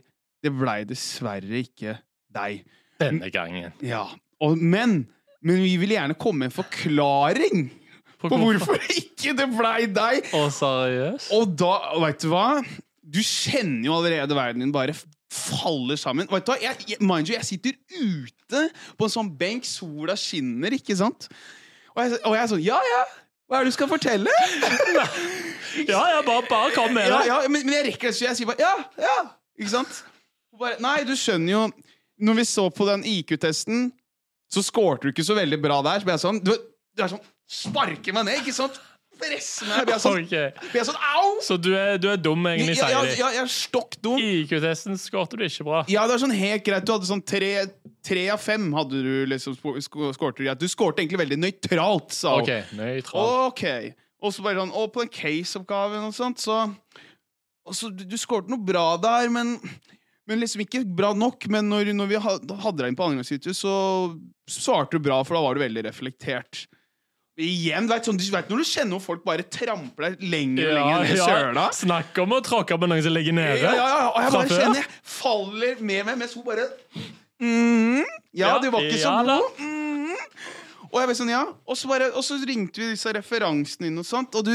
[SPEAKER 1] det blei dessverre ikke deg.
[SPEAKER 2] Denne gangen.
[SPEAKER 1] Ja. Og, men, men vi vil gjerne komme med en forklaring på hvorfor ikke det blei deg.
[SPEAKER 2] Å, seriøst?
[SPEAKER 1] Og da, veit du hva? Du kjenner jo allerede verden din bare f- faller sammen. Vet du hva? Jeg, jeg, mind you, jeg sitter ute på en sånn benk, sola skinner, ikke sant? Og jeg, og jeg er sånn Ja, ja! Hva er det du skal fortelle?
[SPEAKER 2] Ja, ja, bare, bare kom med
[SPEAKER 1] ja,
[SPEAKER 2] det.
[SPEAKER 1] ja, men, men jeg rekker det, så jeg sier bare Ja, ja! Ikke sant? Og Bare, nei, du skjønner jo Når vi så på den IQ-testen, så skårte du ikke så veldig bra der. Så ble jeg sånn Du, du er sånn Sparker meg ned, ikke sant? Presser meg. Blir jeg sånn,
[SPEAKER 2] Ok.
[SPEAKER 1] blir jeg sånn Au!
[SPEAKER 2] Så du er, du er dum, egentlig,
[SPEAKER 1] Ja, ja,
[SPEAKER 2] sier de.
[SPEAKER 1] ja, jeg er stokk dum.
[SPEAKER 2] IQ-testen skårte du ikke bra.
[SPEAKER 1] Ja, det er sånn helt greit. Du hadde sånn tre, tre av fem hadde du liksom spo- sko- skårte greit. Du skårte egentlig veldig nøytralt, sa hun.
[SPEAKER 2] OK, nøytral.
[SPEAKER 1] Ok. Og så bare sånn, og på den case-oppgaven og sånt, så og så, Du, du skårte noe bra der, men, men liksom ikke bra nok. Men når, når vi ha- hadde deg inn på andregangsvideo, så svarte du bra, for da var du veldig reflektert. Igjen, vet, sånn, du vet når du kjenner hvor folk bare tramper deg lenger og lenger ned i søla?
[SPEAKER 2] Snakk om å tråkke på noen som ligger nede.
[SPEAKER 1] Ja, ja, ja. Og jeg bare
[SPEAKER 2] Fra før?
[SPEAKER 1] kjenner jeg faller med meg mens hun bare mm, Ja,
[SPEAKER 2] Ja,
[SPEAKER 1] du var ikke så
[SPEAKER 2] ja da.
[SPEAKER 1] god. Mm. Og jeg bare sånn, ja og så, bare, og så ringte vi disse referansene inn, og sånt Og du,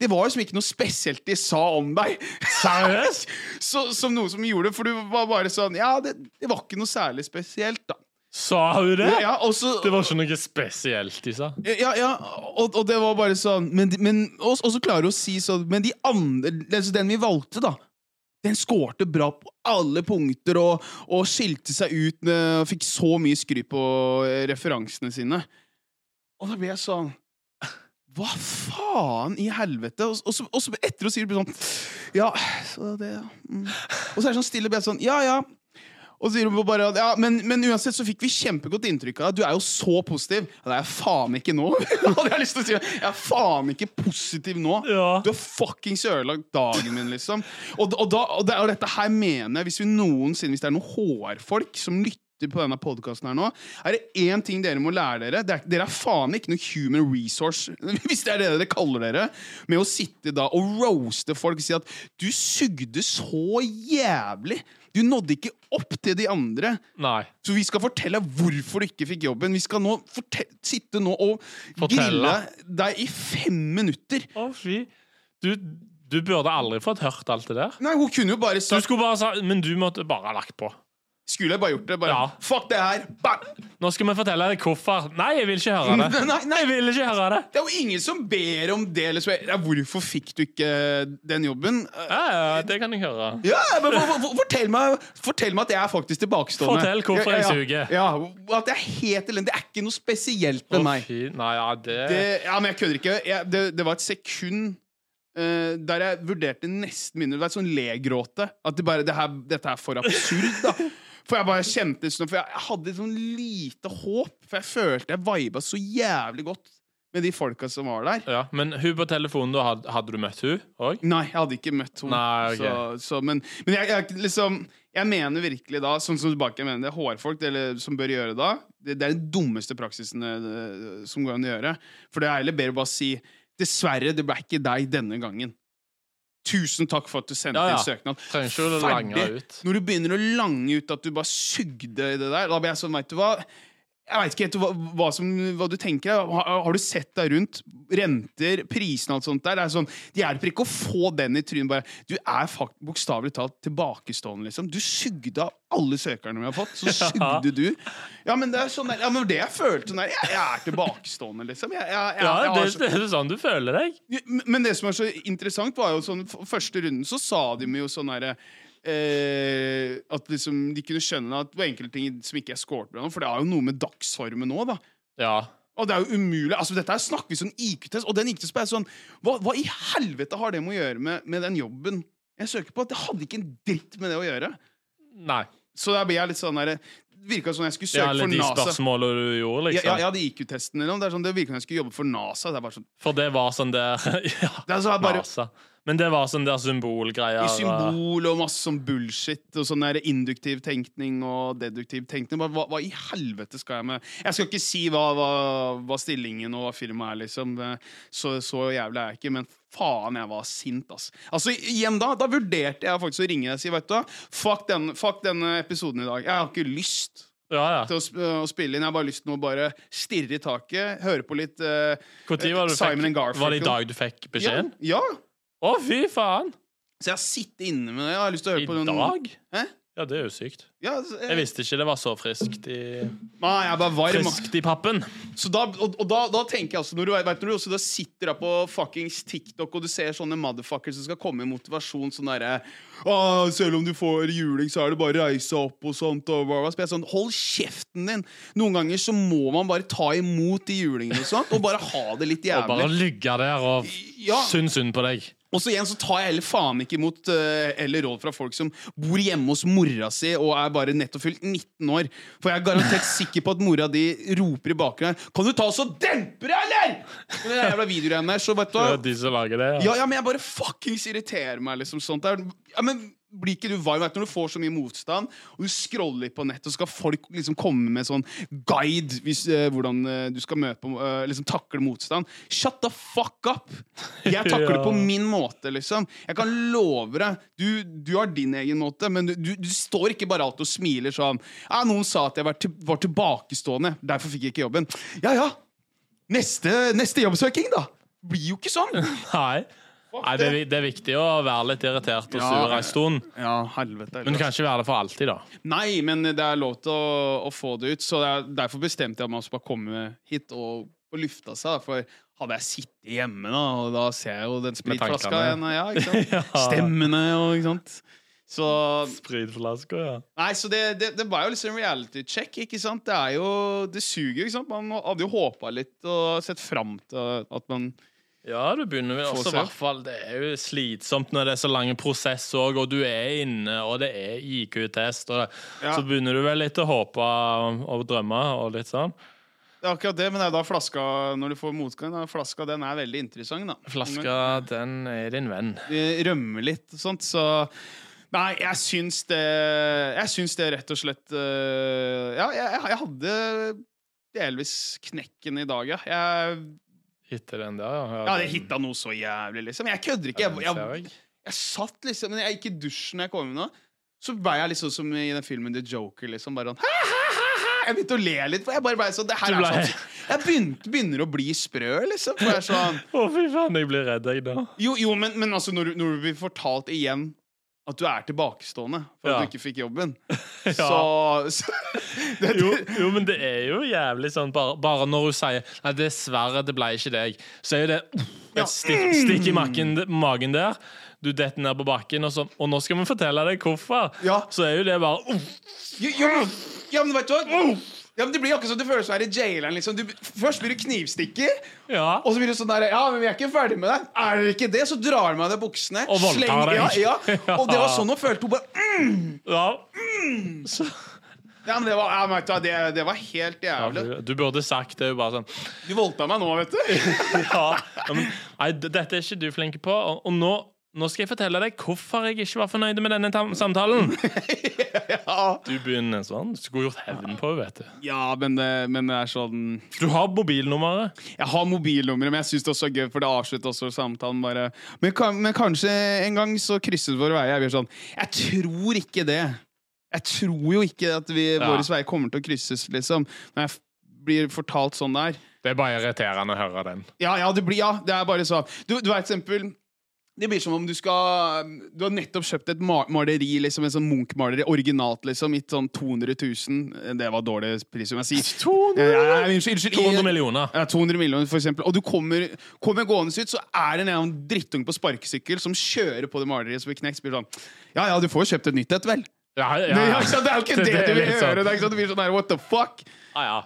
[SPEAKER 1] det var liksom ikke noe spesielt de sa om deg.
[SPEAKER 2] Seriøst?
[SPEAKER 1] så, som noe som gjorde det, for du var bare sånn Ja, det, det var ikke noe særlig spesielt, da.
[SPEAKER 2] Sa hun det?
[SPEAKER 1] Ja, og så,
[SPEAKER 2] Det var ikke noe spesielt de sa.
[SPEAKER 1] ja, ja, og, og det var bare sånn Men, de- men og, og så klarer du å si sånn Men de andre, altså den vi valgte da Den skårte bra på alle punkter Og, og skilte seg ut med, Og fikk så mye skryt på eh, referansene sine Og da ble jeg sånn Hva faen i helvete? Og, og, så, og så etter å si det blir sånn Ja, så det ja. mm. Og så er det sånn stille bjelle sånn Ja, ja. Og så sier hun bare at, ja, men, men uansett så fikk vi kjempegodt inntrykk av deg. Du er jo så positiv. Ja, det er jeg faen ikke nå. Hadde jeg lyst til å si Jeg er faen ikke positiv nå.
[SPEAKER 2] Ja.
[SPEAKER 1] Du har fuckings ødelagt dagen min, liksom. Og, og, da, og, det, og dette her mener jeg, hvis vi noensinne Hvis det er noen HR-folk som lytter på denne podkasten her nå, er det én ting dere må lære dere. Det er, dere er faen ikke noe human resource, hvis det er det dere kaller dere, med å sitte da og roaste folk og si at du sugde så jævlig. Du nådde ikke opp til de andre.
[SPEAKER 2] Nei.
[SPEAKER 1] Så vi skal fortelle hvorfor du ikke fikk jobben. Vi skal nå fortel- sitte nå og grille
[SPEAKER 2] Fortelle.
[SPEAKER 1] deg i fem minutter.
[SPEAKER 2] Å, fy. Du, du burde aldri fått hørt alt det der.
[SPEAKER 1] Nei, hun kunne jo bare
[SPEAKER 2] Du
[SPEAKER 1] sagt
[SPEAKER 2] skulle bare sa, Men du måtte bare ha lagt på.
[SPEAKER 1] Skulle jeg bare gjort det? Bare,
[SPEAKER 2] Ja.
[SPEAKER 1] Fuck det her! Bang!
[SPEAKER 2] Nå skal vi fortelle deg hvorfor. Nei, jeg vil ikke høre det.
[SPEAKER 1] Nei, nei,
[SPEAKER 2] Jeg vil ikke høre det.
[SPEAKER 1] Det er jo ingen som ber om det. Eller spør, ja, 'Hvorfor fikk du ikke den jobben?' Eh,
[SPEAKER 2] Ja, ja, det kan jeg høre.
[SPEAKER 1] Ja, men for, for, fortell, meg, fortell meg at jeg er faktisk tilbakestående.
[SPEAKER 2] Fortell hvorfor
[SPEAKER 1] ja,
[SPEAKER 2] jeg
[SPEAKER 1] ja,
[SPEAKER 2] suger.
[SPEAKER 1] Ja, at jeg er helt elendig. Det er ikke noe spesielt
[SPEAKER 2] Å,
[SPEAKER 1] med meg.
[SPEAKER 2] fy. Nei, ja, det,
[SPEAKER 1] Det, ja, men jeg kødder ikke. Jeg, det, det var et sekund eh, der jeg vurderte nesten mindre. Det var et sånn legråte. At det bare, det her, dette er for absurd, da. For jeg bare kjente sånn, for jeg, jeg hadde et sånn lite håp, for jeg følte jeg viba så jævlig godt med de folka som var der.
[SPEAKER 2] ja. Men hun på telefonen, da, had- hadde du møtt hun òg?
[SPEAKER 1] Nei, jeg hadde ikke møtt henne.
[SPEAKER 2] Nei, ok.
[SPEAKER 1] så, så, men men jeg, jeg, liksom, jeg mener virkelig da, sånn som tilbake, jeg mener det HR-folk eller, som bør gjøre da, det, det er den dummeste praksisen eh, som går an å gjøre. For det er heller bedre å bare si dessverre, det ble ikke deg denne gangen. Tusen takk for at du sendte
[SPEAKER 2] Ja, ja.
[SPEAKER 1] inn søknad.
[SPEAKER 2] Trenger ikke å lange ut.
[SPEAKER 1] Når du begynner å lange ut at du bare sugde i det der, da blir jeg sånn, veit du hva Jeg veit ikke helt hva, hva, som, hva du tenker. Har, har du sett deg rundt? Renter, prisene og alt sånt der. Det er sånn, Det hjelper ikke å få den i trynet. bare, Du er fakt- bokstavelig talt tilbakestående, liksom. Du sugde av alle søkerne vi har fått. Så sugde du. Ja, men det er sånn der, ja, men det jeg følte sånn der, jeg, jeg er tilbakestående, liksom. Jeg, jeg, jeg,
[SPEAKER 2] Ja,
[SPEAKER 1] jeg har
[SPEAKER 2] det,
[SPEAKER 1] så-
[SPEAKER 2] det er sånn du føler deg.
[SPEAKER 1] men det som er så interessant, var jo sånn f- Første runden så sa de jo sånn herre Eh, at liksom de kunne skjønne at det var enkelte ting som ikke jeg scoret med. For det er jo noe med dagsformen nå, da.
[SPEAKER 2] Ja.
[SPEAKER 1] Og det er jo umulig. altså Dette her snakker vi sånn IQ-test, og den IQ-testen er sånn hva, hva i helvete har det med å gjøre med, med den jobben jeg søker på? Det hadde ikke en dritt med det å gjøre.
[SPEAKER 2] Nei.
[SPEAKER 1] Så der blir jeg litt sånn derre Virka som jeg skulle søke
[SPEAKER 2] Ja, alle
[SPEAKER 1] for
[SPEAKER 2] de
[SPEAKER 1] NASA.
[SPEAKER 2] spørsmålene du gjorde,
[SPEAKER 1] Ja,
[SPEAKER 2] liksom.
[SPEAKER 1] ja, jeg hadde IQ-testen eller noe. Det, er sånn, det virka som jeg skulle jobbe for NASA. Det er bare sånn
[SPEAKER 2] For det var sånn der Ja,
[SPEAKER 1] det er så jeg bare,
[SPEAKER 2] NASA. Men det var sånn der symbolgreier.
[SPEAKER 1] I symbol og masse sånn bullshit og sånn der induktiv tenkning og deduktiv tenkning. Bare, hva, hva i helvete skal jeg med Jeg skal ikke si hva, hva, hva stillingen og hva firmaet er, liksom. Det- Så, så jævlig er jeg ikke, men faen, jeg var sint, ass. Altså, igjen da, da vurderte jeg faktisk å ringe deg og si, vet du hva, fuck, den, fuck denne episoden i dag. Jeg har ikke lyst
[SPEAKER 2] Ja, ja.
[SPEAKER 1] til å, sp å spille inn. Jeg har bare lyst til å bare stirre i taket, høre på litt eh,
[SPEAKER 2] Hvor tid var det du
[SPEAKER 1] Simon and
[SPEAKER 2] fikk
[SPEAKER 1] Garfunkel.
[SPEAKER 2] Var det i dag du fikk beskjeden?
[SPEAKER 1] Ja, ja.
[SPEAKER 2] Å, fy faen!
[SPEAKER 1] Så jeg sitter inne med det. Jeg har lyst til å høre
[SPEAKER 2] I
[SPEAKER 1] på noen
[SPEAKER 2] dag?
[SPEAKER 1] Hæ?
[SPEAKER 2] Ja, det er jo sykt.
[SPEAKER 1] Ja, altså, så-
[SPEAKER 2] Jeg visste ikke det var så friskt i,
[SPEAKER 1] Nei, jeg er bare varm. ass.
[SPEAKER 2] friskt i pappen.
[SPEAKER 1] Så da, og, og da, da tenker jeg altså Når du, vet, når du også da sitter der på fuckings TikTok og du ser sånne motherfuckers som skal komme med motivasjon sånn derre «Ah, 'Selv om du får juling, så er det bare å reise seg opp og sånt' og bla, bla, bla. Så blir jeg sånn, Hold kjeften din! Noen ganger så må man bare ta imot de julingene og sånt, og bare ha det litt
[SPEAKER 2] Og bare
[SPEAKER 1] jævlig.
[SPEAKER 2] ligge der og
[SPEAKER 1] Ja.
[SPEAKER 2] synes synd på deg.
[SPEAKER 1] Og så igjen så tar jeg heller faen ikke imot eh, eller råd fra folk som bor hjemme hos mora si og er bare nettopp fylt 19 år. For jeg er garantert sikker på at mora di roper i bakgrunnen 'Kan du ta oss og dempe deg, eller?!' Og den jævla videogreiene der, så vet du
[SPEAKER 2] Det
[SPEAKER 1] hva
[SPEAKER 2] er de som lager det.
[SPEAKER 1] ja, ja, men jeg bare fuckings irriterer meg, liksom. Sånt der. Ja, men blir ikke du varm vet, du, når du får så mye motstand, og du scroller litt på nettet, og så skal folk liksom komme med sånn guide hvis, eh, hvordan eh, du skal møte, eh, liksom takle motstand. Shut the fuck up! Jeg takler
[SPEAKER 2] Ja.
[SPEAKER 1] på min måte, liksom. Jeg kan love deg. Du, du har din egen måte, men du, du, du står ikke bare alltid og smiler sånn. Ja, noen sa at jeg var, til, var tilbakestående, derfor fikk jeg ikke jobben. Ja, ja. Neste, neste jobbsøking, da. Blir jo ikke sånn.
[SPEAKER 2] Nei. Nei det, er, vi- det er viktig å være litt irritert og
[SPEAKER 1] Ja.
[SPEAKER 2] sur en stund.
[SPEAKER 1] Ja, helvete.
[SPEAKER 2] Men du
[SPEAKER 1] altså.
[SPEAKER 2] kan ikke være det for alltid, da.
[SPEAKER 1] Nei, men det er lov til å, å få det ut. Så det er, derfor bestemte jeg meg for å komme hit og, og lufta seg. da, For hadde jeg sittet hjemme, da, og da ser jeg jo den spritflaska
[SPEAKER 2] tankene.
[SPEAKER 1] igjen. og Ja, ikke sant?
[SPEAKER 2] Ja.
[SPEAKER 1] Stemmene og ikke sant. Så
[SPEAKER 2] Spritflasker, ja.
[SPEAKER 1] Nei, så det, det, det var jo liksom reality check, ikke sant? Det er jo Det suger jo, ikke sant? Man hadde jo håpa litt og sett fram til at man
[SPEAKER 2] Ja, du begynner vel
[SPEAKER 1] Få
[SPEAKER 2] også,
[SPEAKER 1] se.
[SPEAKER 2] i hvert fall. Det er jo slitsomt når det er så lange prosesser òg, og du er inne, og det er IQ-test, og det.
[SPEAKER 1] Ja.
[SPEAKER 2] så begynner du vel litt å håpe og drømme og litt sånn.
[SPEAKER 1] Det er akkurat det, men det er da flaska Når du får motgang, da, flaska den er veldig interessant, da.
[SPEAKER 2] Flaska, den er din venn.
[SPEAKER 1] eh, rømme litt og sånt, så Nei, jeg syns det Jeg syns det rett og slett eh, Ja, jeg, jeg hadde delvis knekken i dag, ja. Jeg,
[SPEAKER 2] Hitter den der, ja.
[SPEAKER 1] jeg hadde hitta noe så jævlig, liksom. Jeg kødder ikke. Jeg, jeg, jeg satt liksom Men jeg gikk i dusjen da jeg kom unna. Så ble jeg liksom som i den filmen The Joker, liksom. Bare sånn «Ha, ha, ha, ha!» Jeg begynte å le litt. For jeg bare ble sånn Det her
[SPEAKER 2] Du
[SPEAKER 1] er
[SPEAKER 2] ble-
[SPEAKER 1] sånn Jeg begynte, begynner å bli sprø, liksom. For jeg er sånn
[SPEAKER 2] Å, fy faen, jeg blir redd, jeg, da.
[SPEAKER 1] Jo, jo men, men altså, når du, når du blir fortalt igjen at du er tilbakestående for
[SPEAKER 2] Ja.
[SPEAKER 1] at du ikke fikk jobben,
[SPEAKER 2] Ja.
[SPEAKER 1] så, så det,
[SPEAKER 2] jo, jo, men det er jo jævlig sånn Bare, bare når hun sier Nei, 'dessverre, det ble ikke deg', så er jo det
[SPEAKER 1] Ja.
[SPEAKER 2] et stikk, stikk i makken, magen der. Du detter ned på bakken, og, så, og nå skal vi fortelle deg hvorfor.
[SPEAKER 1] Ja.
[SPEAKER 2] Så er jo det bare uff,
[SPEAKER 1] jo, jo, ja, men vet du hva? Ja, men det blir akkurat som det føles å være jaileren. Liksom. Du, først blir du knivstikker,
[SPEAKER 2] Ja.
[SPEAKER 1] og så blir du sånn der Ja, men vi er ikke ferdig med deg. Er dere ikke det? Så drar han meg ned buksene.
[SPEAKER 2] Og voldtar
[SPEAKER 1] slenger-
[SPEAKER 2] deg.
[SPEAKER 1] Ja, ja. Og det var sånn hun følte. Hun bare
[SPEAKER 2] ja. Så,
[SPEAKER 1] Ja, men det var, ja, men vet du hva, det, det var helt jævlig.
[SPEAKER 2] du burde sagt det. jo Bare sånn
[SPEAKER 1] Du voldta meg nå, vet du.
[SPEAKER 2] ja, ja, men, Nei, d- dette er ikke du flink på, og, og nå, nå skal jeg fortelle deg hvorfor jeg ikke var fornøyd med denne tam- samtalen.
[SPEAKER 1] Ja,
[SPEAKER 2] Du begynner sånn. Du skulle gjort hevn på henne, vet du.
[SPEAKER 1] ja men, det- men det er sånn
[SPEAKER 2] Du har mobilnummeret.
[SPEAKER 1] Jeg har mobilnummeret, men jeg synes det også er gøy, for det avslutter også samtalen bare men, kan, men kanskje en gang så krysset våre veier. Jeg blir sånn Jeg tror ikke det. Jeg tror jo ikke at vi,
[SPEAKER 2] Ja.
[SPEAKER 1] våre veier kommer til å krysses, liksom. Når jeg f- blir fortalt sånn der.
[SPEAKER 2] Det er bare irriterende å høre den.
[SPEAKER 1] Ja, ja, det blir Ja, det er bare sånn. Du, du vet eksempel det blir som om du skal Du har nettopp kjøpt et ma- maleri, liksom, en sånn Munch-maleri, originalt, liksom, gitt sånn 200 000. Det var dårlig pris, om jeg sier.
[SPEAKER 2] 200
[SPEAKER 1] Eh, Unnskyld, unnskyld.
[SPEAKER 2] 200 millioner.
[SPEAKER 1] Ja, 200 millioner, for eksempel. Og du kommer, kommer gående ut, så er det en eller annen drittung på sparkesykkel som kjører på det maleriet som blir knekt. så blir det sånn Ja, ja, du får jo kjøpt et nytt et, vel?
[SPEAKER 2] Ja, ja,
[SPEAKER 1] Nei, ikke sant? Det er jo ikke det, du vil
[SPEAKER 2] litt sånn.
[SPEAKER 1] gjøre! Det er ikke sant? Du blir sånn her, what the fuck?
[SPEAKER 2] Ja, ja.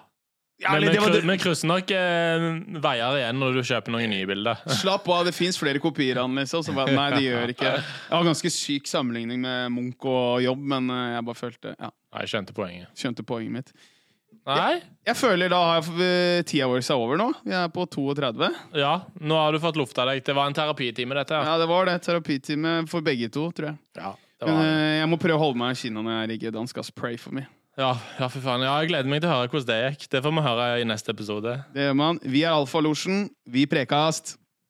[SPEAKER 1] Ja,
[SPEAKER 2] Men
[SPEAKER 1] eller
[SPEAKER 2] vi
[SPEAKER 1] det var
[SPEAKER 2] kry-
[SPEAKER 1] det.
[SPEAKER 2] vi krysser nok eh, veier igjen når du kjøper noen nye bilder.
[SPEAKER 1] Slapp av, det fins flere kopier av den, liksom. Så bare, nei, det gjør ikke Jeg har ganske syk sammenligning med Munch og jobb, men eh, jeg bare følte Ja,
[SPEAKER 2] Nei, jeg skjønte poenget.
[SPEAKER 1] skjønte poenget mitt.
[SPEAKER 2] Nei?
[SPEAKER 1] Jeg føler da har eh, tida vår seg over nå. Vi er på 32.
[SPEAKER 2] Ja, nå har du fått lufta deg. Det var en terapitime, dette. her.
[SPEAKER 1] Ja, det var det. Terapitime for begge to, tror jeg.
[SPEAKER 2] Ja, det
[SPEAKER 1] Men
[SPEAKER 2] var det.
[SPEAKER 1] eh, jeg må prøve å holde meg i kinna når jeg rigger Danskas Pray for me.
[SPEAKER 2] Ja, ja, for faen. Ja, jeg gleder meg til å høre hvordan det gikk. Det får vi høre i neste episode.
[SPEAKER 1] Det gjør man. Vi er Alfalosjen. Vi prekast.